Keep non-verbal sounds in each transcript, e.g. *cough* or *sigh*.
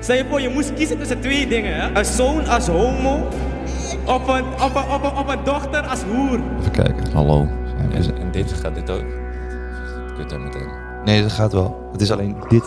Stel je voor, je moest kiezen tussen twee dingen. Hè? Een zoon als homo of een, of een, of een, of een dochter als hoer. Even kijken. Hallo. En, en dit gaat dit ook? Kut dan meteen. Nee, dat gaat wel. Het is alleen dit.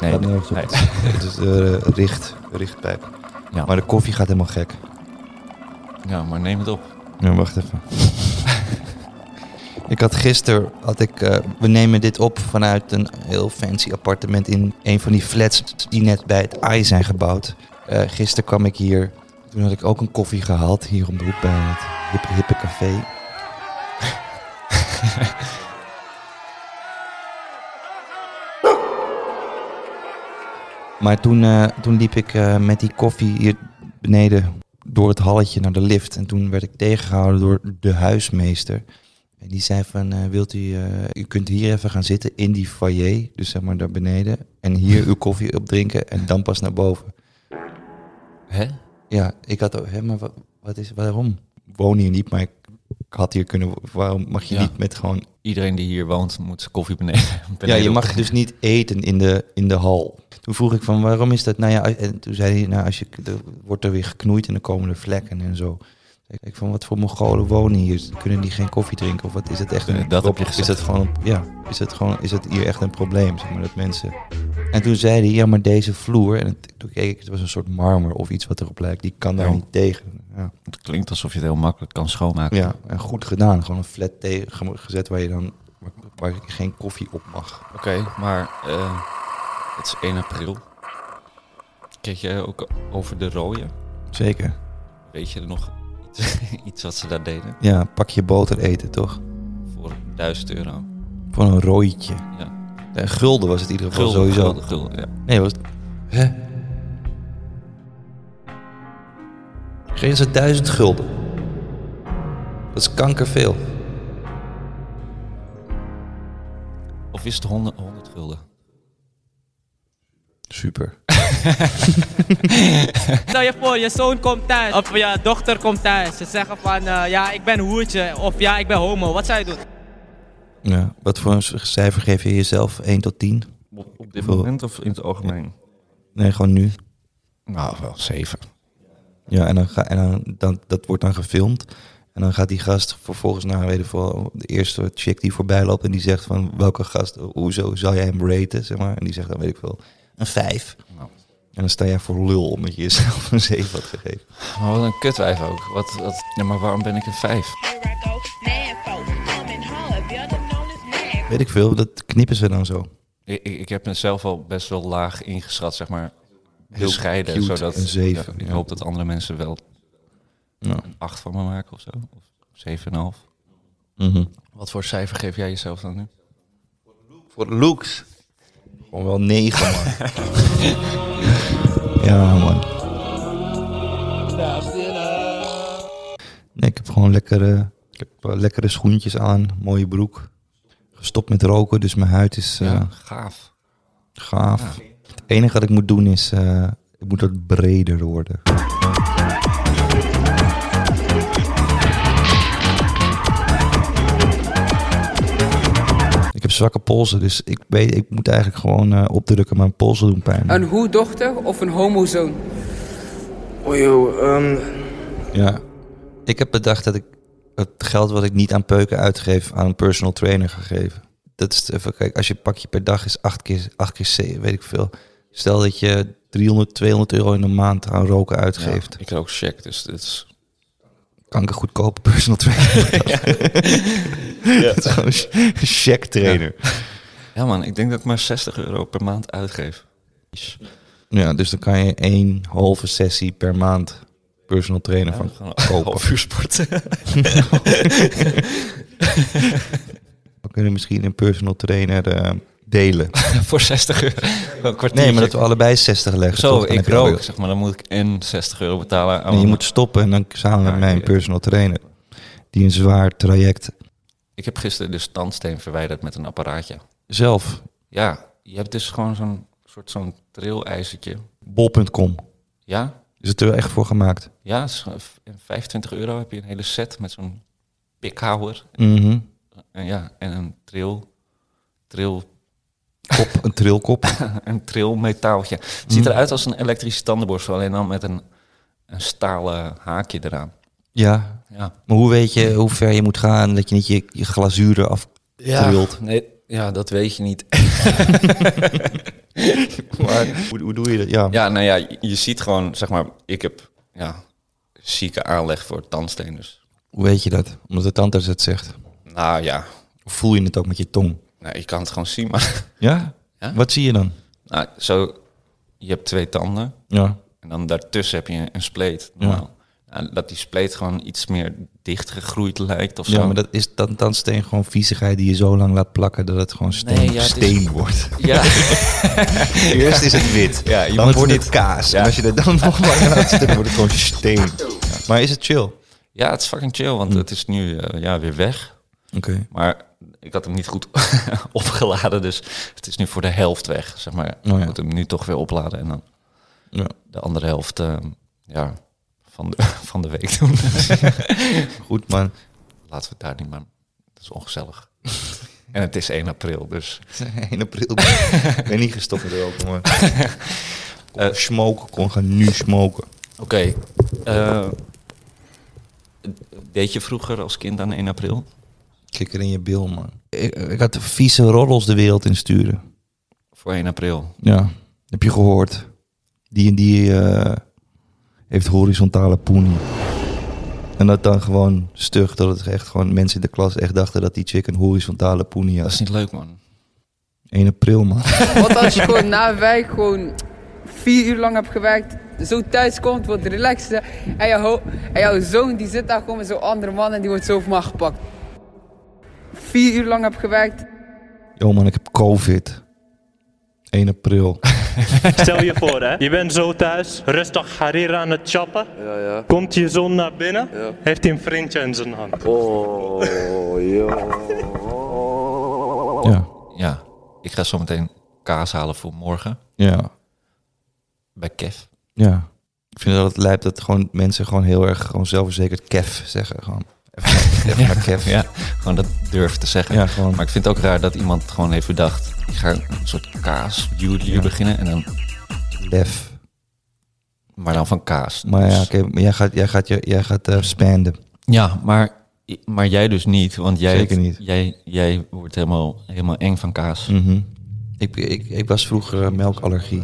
Nee, gaat nergens op. nee. *laughs* Het is de eh, richt, richtpijp. Ja. Maar de koffie gaat helemaal gek. Ja, maar neem het op. Ja, wacht even. *laughs* ik had gisteren, had ik, eh, we nemen dit op vanuit een heel fancy appartement in een van die flats die net bij het AI zijn gebouwd. Eh gisteren kwam ik hier, toen had ik ook een koffie gehaald hier om de hoek bij het hippe, hippe café. *laughs* Maar toen, eh, toen liep ik eh, met die koffie hier beneden door het halletje naar de lift. En toen werd ik tegengehouden door de huismeester. En die zei van, eh, wilt u, eh, u kunt hier even gaan zitten in die foyer, dus zeg maar daar beneden. En hier uw koffie opdrinken en dan pas naar boven. Hè? Ja, ik had ook, hè, maar wat, wat is, waarom? Ik woon hier niet, maar ik had hier kunnen, wo- waarom mag je Ja. niet met gewoon... Iedereen die hier woont moet zijn koffie beneden. *laughs* beneden Ja, je op- mag dus niet eten in de, in de hal. Toen vroeg ik van, waarom is dat? Nou ja, en toen zei hij, nou als je, er wordt er weer geknoeid en dan komen er vlekken en zo. Ik denk van, wat voor Mongolen wonen hier? Kunnen die geen koffie drinken? Of wat is het echt? Een, Dat heb je Is gezegd. het gewoon, een- ja, is het gewoon, is het hier echt een probleem? Zeg maar dat mensen. En toen zei hij, ja, maar deze vloer, en het, toen keek ik, het was een soort marmer of iets wat erop lijkt. Die kan daar Ja. niet tegen. Ja. Het klinkt alsof je het heel makkelijk kan schoonmaken. ja, en goed gedaan. Gewoon een flat tegen gezet waar je dan, waar, waar je geen koffie op mag. Oké, maar eh, het is 1 april. Kijk jij ook over de rode? Zeker. Weet je nog iets, *laughs* iets wat ze daar deden? Ja, een pakje boter eten, toch? Voor 1000 euro. Voor een rooitje. Ja. Eh, gulden was het in ieder geval sowieso. gulden, gulden, ja. Nee, was het... Hè? Kregen ze duizend gulden. Dat is kankerveel. Of is het 100, 100 gulden? Super. Stel je voor, je zoon komt thuis of je dochter komt thuis. Ze zeggen van, eh, ja, ik ben hoertje of ja, ik ben homo. Wat zou je doen? Ja, wat voor een cijfer geef je jezelf? 1 tot 10? Op, dit moment of in het algemeen? Nee, gewoon nu. Nou, wel 7. Ja, en, dan ga, en dan, dan, dat wordt dan gefilmd. En dan gaat die gast vervolgens naar, weet ik veel, de eerste chick die voorbij loopt. En die zegt van, welke gast, hoezo zou jij hem raten, zeg maar. En die zegt dan, weet ik veel, een vijf. Nou. En dan sta jij voor lul omdat je jezelf *laughs* een zeven had gegeven. Maar Oh, wat een kutwijf ook. Wat, wat, ja, maar waarom ben ik een 5? Here I go, nine fold, coming hard, better known as nine. Weet ik veel, dat knippen ze dan zo. Ik, ik, ik heb mezelf al best wel laag ingeschat, zeg maar. Heel Bescheiden, cute, zodat een zeven, ja, ik ja. hoop dat andere mensen wel Ja. een 8 van me maken of zo. Of 7,5. Mhm. Wat voor cijfer geef jij jezelf dan nu? Voor looks. Gewoon wel negen, *laughs* man. ja, man. Nee, ik heb gewoon lekkere, ik heb, eh, lekkere schoentjes aan, mooie broek. Gestopt met roken, dus mijn huid is eh, gaaf. gaaf. Het enige wat ik moet doen is, eh, ik moet wat breder worden. Ik heb zwakke polsen, dus ik, weet, ik moet eigenlijk gewoon eh, opdrukken. Mijn polsen doen pijn. Oh, Een hoe-dochter of een homozoon? Oh joh, ehm, Ja. Ik heb bedacht dat ik het geld wat ik niet aan peuken uitgeef aan een personal trainer ga geven. Dat is even kijk, als je pakje per dag is 8 keer, acht keer C, weet ik veel. Stel dat je 300, 200 euro in de maand aan roken uitgeeft. ik rook check, dus dit is... Kan ik een goedkope personal *laughs* trainer? ja. *laughs* dat is gewoon een check trainer. Ja. Ja man, ik denk dat ik maar 60 euro per maand uitgeef. Is- dus dan kan je één halve sessie per maand personal trainer van Gewoon kopen. een half uur sporten. We kunnen misschien een personal trainer eh, *laughs* delen. *laughs* voor 60 euro. Een kwartiertje. Nee, maar dat we allebei 60 leggen. Zo, toch? Dan ik heb je al- rook, zeg maar. Dan moet ik en 60 euro betalen aan Nee, je moet stoppen en dan samen met Ja, mijn oké. personal trainer. Die een zwaar traject Ik heb gisteren dus tandsteen verwijderd met een apparaatje. zelf. Ja, je hebt dus gewoon zo'n soort zo'n trillijzertje. Bol.com Ja, is het er wel echt voor gemaakt. ja, is gewoon v- 25 euro heb je een hele set met zo'n pikhouwer. Mhm. En ja, en een tril, tril, Kop, een trilkop. een trilmetaaltje. Het ziet eruit als een elektrische tandenborstel, alleen dan met een, een stalen haakje eraan. Ja. Ja. Maar hoe weet je hoe ver je moet gaan dat je niet je, je glazuur eraf trilt? nee, ja, dat weet je *laughs* niet. Hoe, hoe doe je dat? Ja. Ja, nou ja, je- je ziet gewoon, zeg maar, ik heb ja, zieke aanleg voor tandsteen. Dus Hoe weet je dat? Omdat de tandarts het zegt. nou ja, Of voel je het ook met je tong? nou, ik kan het gewoon zien. Maar *laughs* Ja? Ja. Wat zie je dan? nou, zo, je hebt twee tanden Ja. en dan daartussen heb je een spleet. normaal. Nou, dat die spleet gewoon iets meer dichtgegroeid lijkt of zo. Ja, maar dat is dan tandsteen gewoon viezigheid die je zo lang laat plakken dat het gewoon steen, Nee, ja, het is- steen wordt. Ja, *laughs* Eerst is het wit, Ja, je dan moet wordt het- het kaas. Ja. En als je dat dan *laughs* nog langer laat zitten, dan wordt het gewoon steen. Maar is het chill? Oké. ja, het is fucking chill, want Hm. het is nu eh, ja, weer weg. Maar ik had hem niet goed *laughs* opgeladen, dus het is nu voor de helft weg. Zeg maar, ja. ik moet hem nu toch weer opladen en dan Ja. de andere helft eh, ja, van, de, *laughs* van de week doen. Goed man. *laughs* Laten we het daar niet maar. Dat is *laughs* ongezellig. en het is 1 april, dus. 1 april. ik ben niet gestopt met roken, *laughs* man. Kon Eh. smoken, kon gaan nu smoken. Oké. eh, deed je vroeger als kind aan 1 april? Kikker in je bil, man. Ik, ik had vieze roddels de wereld in sturen. Voor 1 april. Ja, heb je gehoord. Die en die eh, heeft horizontale poenie. En dat dan gewoon stug, dat het echt gewoon mensen in de klas echt dachten dat die chick een horizontale poenie Dat is had. niet leuk, man. 1 april, man. Wat als je gewoon na een week gewoon vier uur lang hebt gewerkt, zo thuis komt, wordt relaxen. En, je ho- en jouw zoon die zit daar gewoon met zo'n andere man en die wordt zo van me gepakt. Vier uur lang heb gewerkt. Yo man, ik heb COVID. 1 april. Stel je voor, hè? Je bent zo thuis, rustig Harira aan het shoppen. Ja, ja. Komt je zoon naar binnen, heeft hij een vriendje in zijn hand. Oh, joh. Ja, Ja. Ik ga zo meteen kaas halen voor morgen ja, bij Kev. ja. Ik vind dat het lijp dat gewoon mensen gewoon heel erg gewoon zelfverzekerd kef zeggen. Gewoon. Even *laughs* maar, even maar kef. Ja, *laughs* gewoon dat durf te zeggen. Ja, gewoon. Maar ik vind het ook raar dat iemand gewoon heeft bedacht. Ik ga een soort kaas Ja. beginnen en dan. Lef. Maar dan van kaas. Maar ja, Dus- oké, maar jij gaat, jij gaat, je- jij gaat eh, spanden. Ja, maar, maar jij dus niet, want jij, Zeker niet. jij, jij wordt helemaal, helemaal eng van kaas. Mhm. ik, ik, ik was vroeger eh, melkallergie.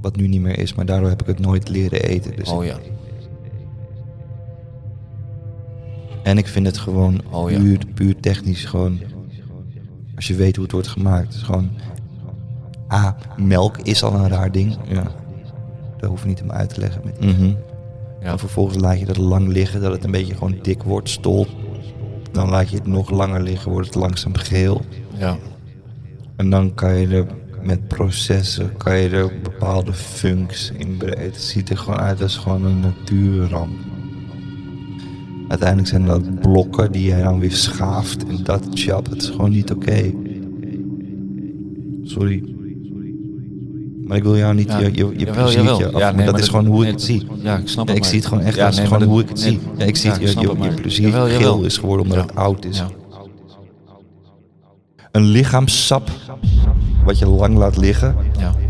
Wat nu niet meer is, maar daardoor heb ik het nooit leren eten. Dus Oh ik- ja. En ik vind het gewoon Oh ja. puur, puur technisch gewoon... Als je weet hoe het wordt gemaakt. Het is gewoon... Ah, melk is al een raar ding. Ja. Daar hoef je niet om uit te leggen. Met Mhm. Ja. En vervolgens laat je dat lang liggen, dat het een beetje gewoon dik wordt, stolt. Dan laat je het nog langer liggen, wordt het langzaam geel. ja. En dan kan je er met processen kan je er bepaalde funks in brengen. Het ziet er gewoon uit als gewoon een natuurramp. Uiteindelijk zijn dat blokken die jij dan weer schaaft. En dat chap, het is gewoon niet oké. Sorry. Maar ik wil jou niet je, je, je Jawel, pleziertje jawel. af- Ja, maar nee, dat is gewoon hoe ik nee, het zie. Ja, ik snap Ja, het. ik maar- zie het gewoon echt Ja, als nee, gewoon maar hoe ik dat- het nee, zie. Ja, ik zie ja, het, je, snap je, het, je maar- plezier Jawel, jawel. geel is geworden omdat het oud is. Ja. Een lichaamssap wat je lang laat liggen. Ja. En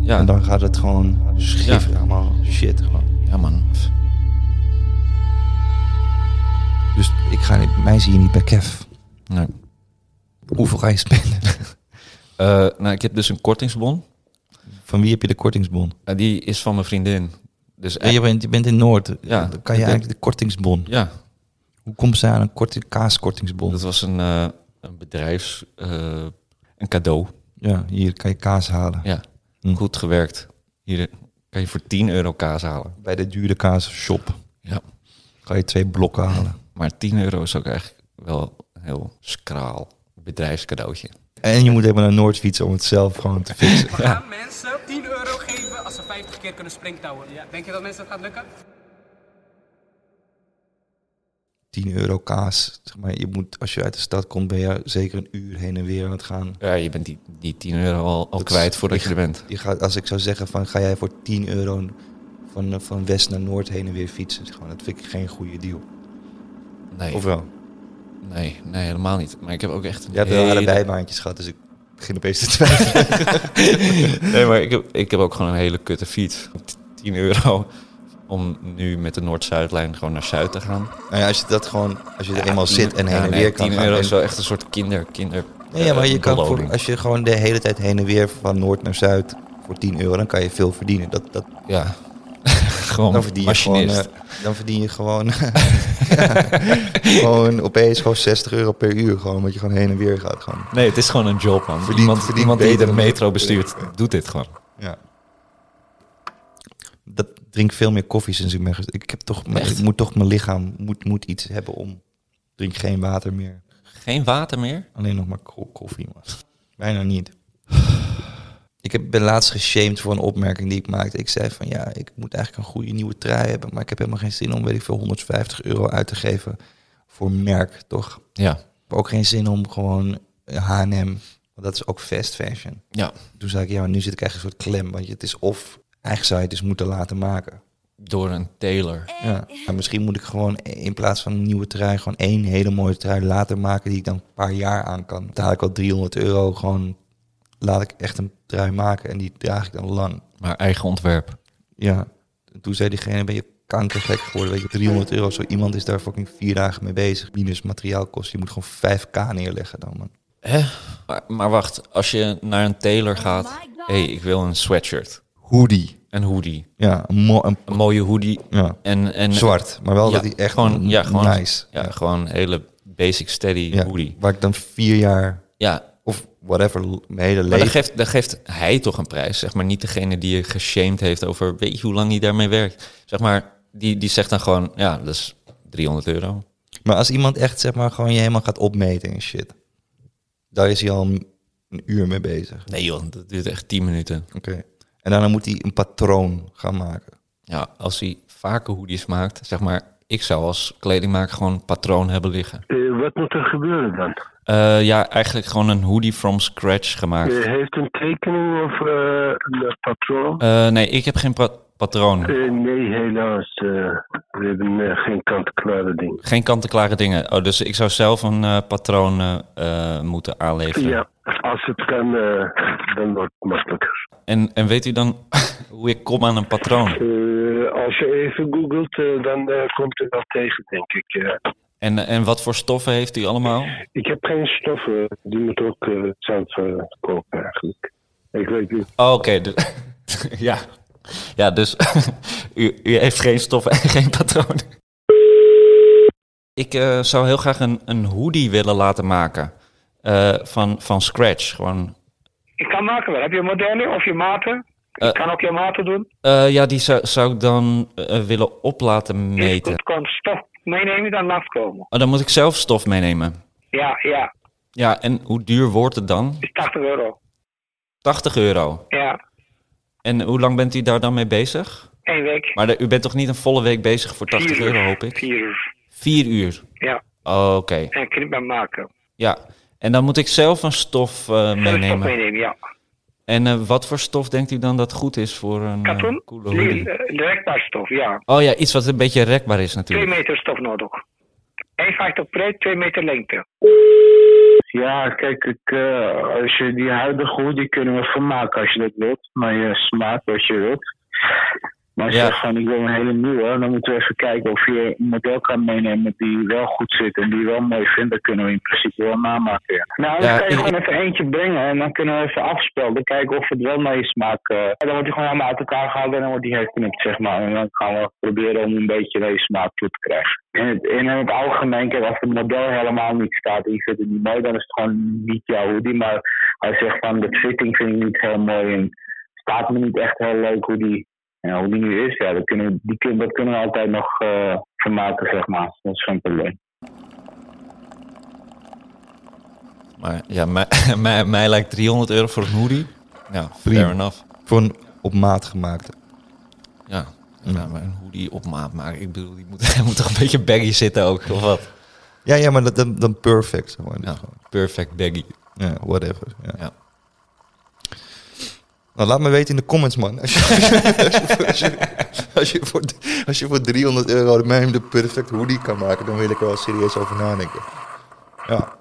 Ja, dan gaat het gewoon schief. Ja. Allemaal shit gewoon. ja, man. Pff, Dus ik ga niet, mij zie je niet bij Kev. Nee. Hoeveel ga je spenden? *laughs* Eh, nou, ik heb dus een kortingsbon. Van wie heb je de kortingsbon? Eh, die is van mijn vriendin. Dus Ja, je, bent, je bent in Noord. Ja. Dan kan je eigenlijk de kortingsbon. ja, Hoe komt ze aan een korte kaaskortingsbon? dat was een, eh, een bedrijfs... eh, een cadeau. Ja, hier kan je kaas halen. Ja, Hm. goed gewerkt. Hier kan je voor 10 euro kaas halen. Bij de dure kaasshop Ja. kan je twee blokken halen. Maar 10 euro is ook eigenlijk wel heel skraal bedrijfscadeautje. En je moet helemaal naar Noord fietsen om het zelf gewoon te fixen. *laughs* Aan mensen 10 euro geven als ze 50 keer kunnen springtouwen. Denk je dat mensen dat gaat lukken? 10 euro kaas. Zeg maar, je moet, als je uit de stad komt, ben je zeker een uur heen en weer aan het gaan. Ja, je bent die, die 10 euro al, al Dat kwijt is- voordat je er bent. Je gaat, als ik zou zeggen van ga jij voor 10 euro van, eh, van west naar noord heen en weer fietsen. Gewoon, dat vind ik geen goede deal. Nee, Of wel? nee, nee, helemaal niet. Maar ik heb ook echt een Jij hebt wel hele- allebei baantjes gehad, dus ik begin opeens te *laughs* twijfelen. Nee, maar ik heb, ik heb ook gewoon een hele kutte fiets. 10 euro om nu met de Noord-Zuidlijn gewoon naar Zuid te gaan. nou ja, als je dat gewoon, als je er eenmaal zit en heen en nee, weer kan 10 gaan. euro en- is wel echt een soort kinder, kinder Nee, ja, maar eh, je kan beloning. voor, als je gewoon de hele tijd heen en weer van noord naar zuid voor 10 euro, dan kan je veel verdienen. Dat, dat, Ja, *laughs* gewoon dan verdien je machinist. gewoon, eh, dan verdien je gewoon, *laughs* ja, gewoon opeens gewoon 60 euro per uur, gewoon omdat je gewoon heen en weer gaat. Gewoon. Nee, het is gewoon een job, man. Verdient- iemand verdient iemand die eh, beter de dan- metro bestuurt, doet dit gewoon. Ja. Dat drink veel meer koffie sinds ik ben gest- Ik heb toch, mijn- Echt? ik moet toch mijn lichaam moet, moet iets hebben om. Ik Drink geen water meer. Geen water meer? Alleen nog maar ko- koffie, man. Bijna niet. Ik heb, ben laatst geshamed voor een opmerking die ik maakte. Ik zei van ja, ik moet eigenlijk een goede nieuwe trui hebben. Maar ik heb helemaal geen zin om, weet ik veel, 150 euro uit te geven voor merk, toch? Ja. Ik heb ook geen zin om gewoon H&M, want dat is ook fast fashion. Ja. Toen zei ik ja, maar nu zit ik eigenlijk een soort klem. Want het is of, eigenlijk zou je het dus moeten laten maken. Door een tailor. Ja. Maar misschien moet ik gewoon in plaats van een nieuwe trui... gewoon één hele mooie trui laten maken die ik dan een paar jaar aan kan. Betaal ik al 300 euro, gewoon laat ik echt een trui maken... en die draag ik dan lang. Maar eigen ontwerp. Ja. En Toen zei diegene, ben je kankergek geworden, weet je, 300 euro. Zo iemand is daar fucking vier dagen mee bezig. Minus materiaalkosten, je moet gewoon 5k neerleggen dan, man. Hè? Maar, maar wacht, als je naar een tailor gaat... hey, ik wil een sweatshirt. Hoodie. Een hoodie. Ja, een, mo- een- Een mooie hoodie. ja. En, en, zwart, maar wel Ja, dat die echt gewoon, ja, gewoon, nice. Ja, gewoon een hele basic steady Ja, hoodie. Waar ik dan vier jaar Ja, of whatever, l- mijn hele maar dan leven. geeft, dan geeft hij toch een prijs. Zeg maar niet degene die je geshamed heeft over... weet je hoe lang hij daarmee werkt? Zeg maar, die, die zegt dan gewoon... ja, dat is 300 euro. Maar als iemand echt zeg maar gewoon je helemaal gaat opmeten en shit, daar is hij al een een uur mee bezig. Nee joh, dat duurt echt 10 minuten. Oké. En daarna moet hij een patroon gaan maken. Ja, als hij vaker hoodies maakt, zeg maar, ik zou als kledingmaker gewoon een patroon hebben liggen. Eh, wat moet er gebeuren dan? Eh, ja, eigenlijk gewoon een hoodie from scratch gemaakt. Eh, heeft een tekening of eh, een patroon? Eh, nee, ik heb geen pa- patroon. Eh, nee, helaas. eh, we hebben eh, geen kant-klare ding. Geen kant-en-klare dingen. Oh, dus ik zou zelf een eh, patroon eh, eh, moeten aanleveren. Ja, als het kan, eh, dan wordt het makkelijker. En, en weet u dan *laughs* hoe ik kom aan een patroon? Eh, als je even googelt, eh, dan eh, komt het wel tegen, denk ik. eh. En, en wat voor stoffen heeft u allemaal? ik heb geen stoffen. Die moet ook eh, zelf eh, kopen, eigenlijk. Ik weet niet. Oh, Oké, dus- *laughs* ja. Ja, dus *laughs* u, u heeft geen stoffen en geen patroon. Ik eh, zou heel graag een, een hoodie willen laten maken. Eh, van, van scratch. Gewoon. Ik kan maken wel. Heb je modellen of je maten? Eh. ik kan ook je maten doen. Eh, ja, die zou, zou ik dan eh, willen op laten meten. Ik kan stof meenemen dan langskomen. Oh, dan moet ik zelf stof meenemen. Ja, ja. Ja, en hoe duur wordt het dan? Is 80 euro. 80 euro. Ja. En hoe lang bent u daar dan mee bezig? Eén week. Maar de- u bent toch niet een volle week bezig voor 80 Vier uur. euro, hoop ik? Vier uur. Vier uur. Ja. Oh, Oké. En knippen maken. Ja, en dan moet ik zelf een stof eh, Stof meenemen. meenemen, ja. En eh, wat voor stof denkt u dan dat goed is voor een eh, Katoen? coole hoodie? Nee, eh, Rekbaar stof, ja. Oh ja, iets wat een beetje rekbaar is Twee natuurlijk. meter stof nodig. 1,50 breed, 2 meter lengte. Ja, kijk, ik, eh, als je die huidige hoodie kunnen we vermaken als je dat wilt. Maar je smaakt wat je wilt. Maar als je Ja. zegt van ik wil een hele nieuwe, dan moeten we even kijken of je een model kan meenemen die wel goed zit en die je wel mooi vindt. Dan kunnen we in principe wel namaken. Ja. Nou, Ja, dan kan je ik- gewoon even eentje brengen en dan kunnen we even afspelden. Kijken of het wel naar je smaak. eh, en dan wordt hij gewoon helemaal uit elkaar gehaald en dan wordt hij herknipt, zeg maar. En dan gaan we proberen om een beetje naar je smaak toe te krijgen. In het, in het algemeen, kijk, als het model helemaal niet staat en je vindt het niet mooi, dan is het gewoon niet jouw hoodie. Maar hij zegt van de fitting vind ik niet heel mooi en staat me niet echt heel leuk hoe die, ja, hoe die nu is. Ja, dat kunnen, we- die, kun- dat kunnen we altijd nog eh vermaken, zeg maar. Dat is geen probleem. Maar ja, mij, *laughs* mij, mij lijkt 300 euro voor een hoodie. Ja, fair Prima. enough. Voor een op maat gemaakte. Ja. ja, maar een hoodie op maat maken. Ik bedoel, die moet, *laughs* moet toch een beetje baggy zitten ook, of wat? Ja, ja, maar dat, dan, dan perfect. Zeg maar. Dus Ja, gewoon, perfect baggy. ja, whatever. Ja. Ja. Nou, laat me weten in de comments, man. Als je, als je, *laughs* als je, als je voor, als je voor 300 euro mij de perfect hoodie kan maken, dan wil ik er wel serieus over nadenken. Ja.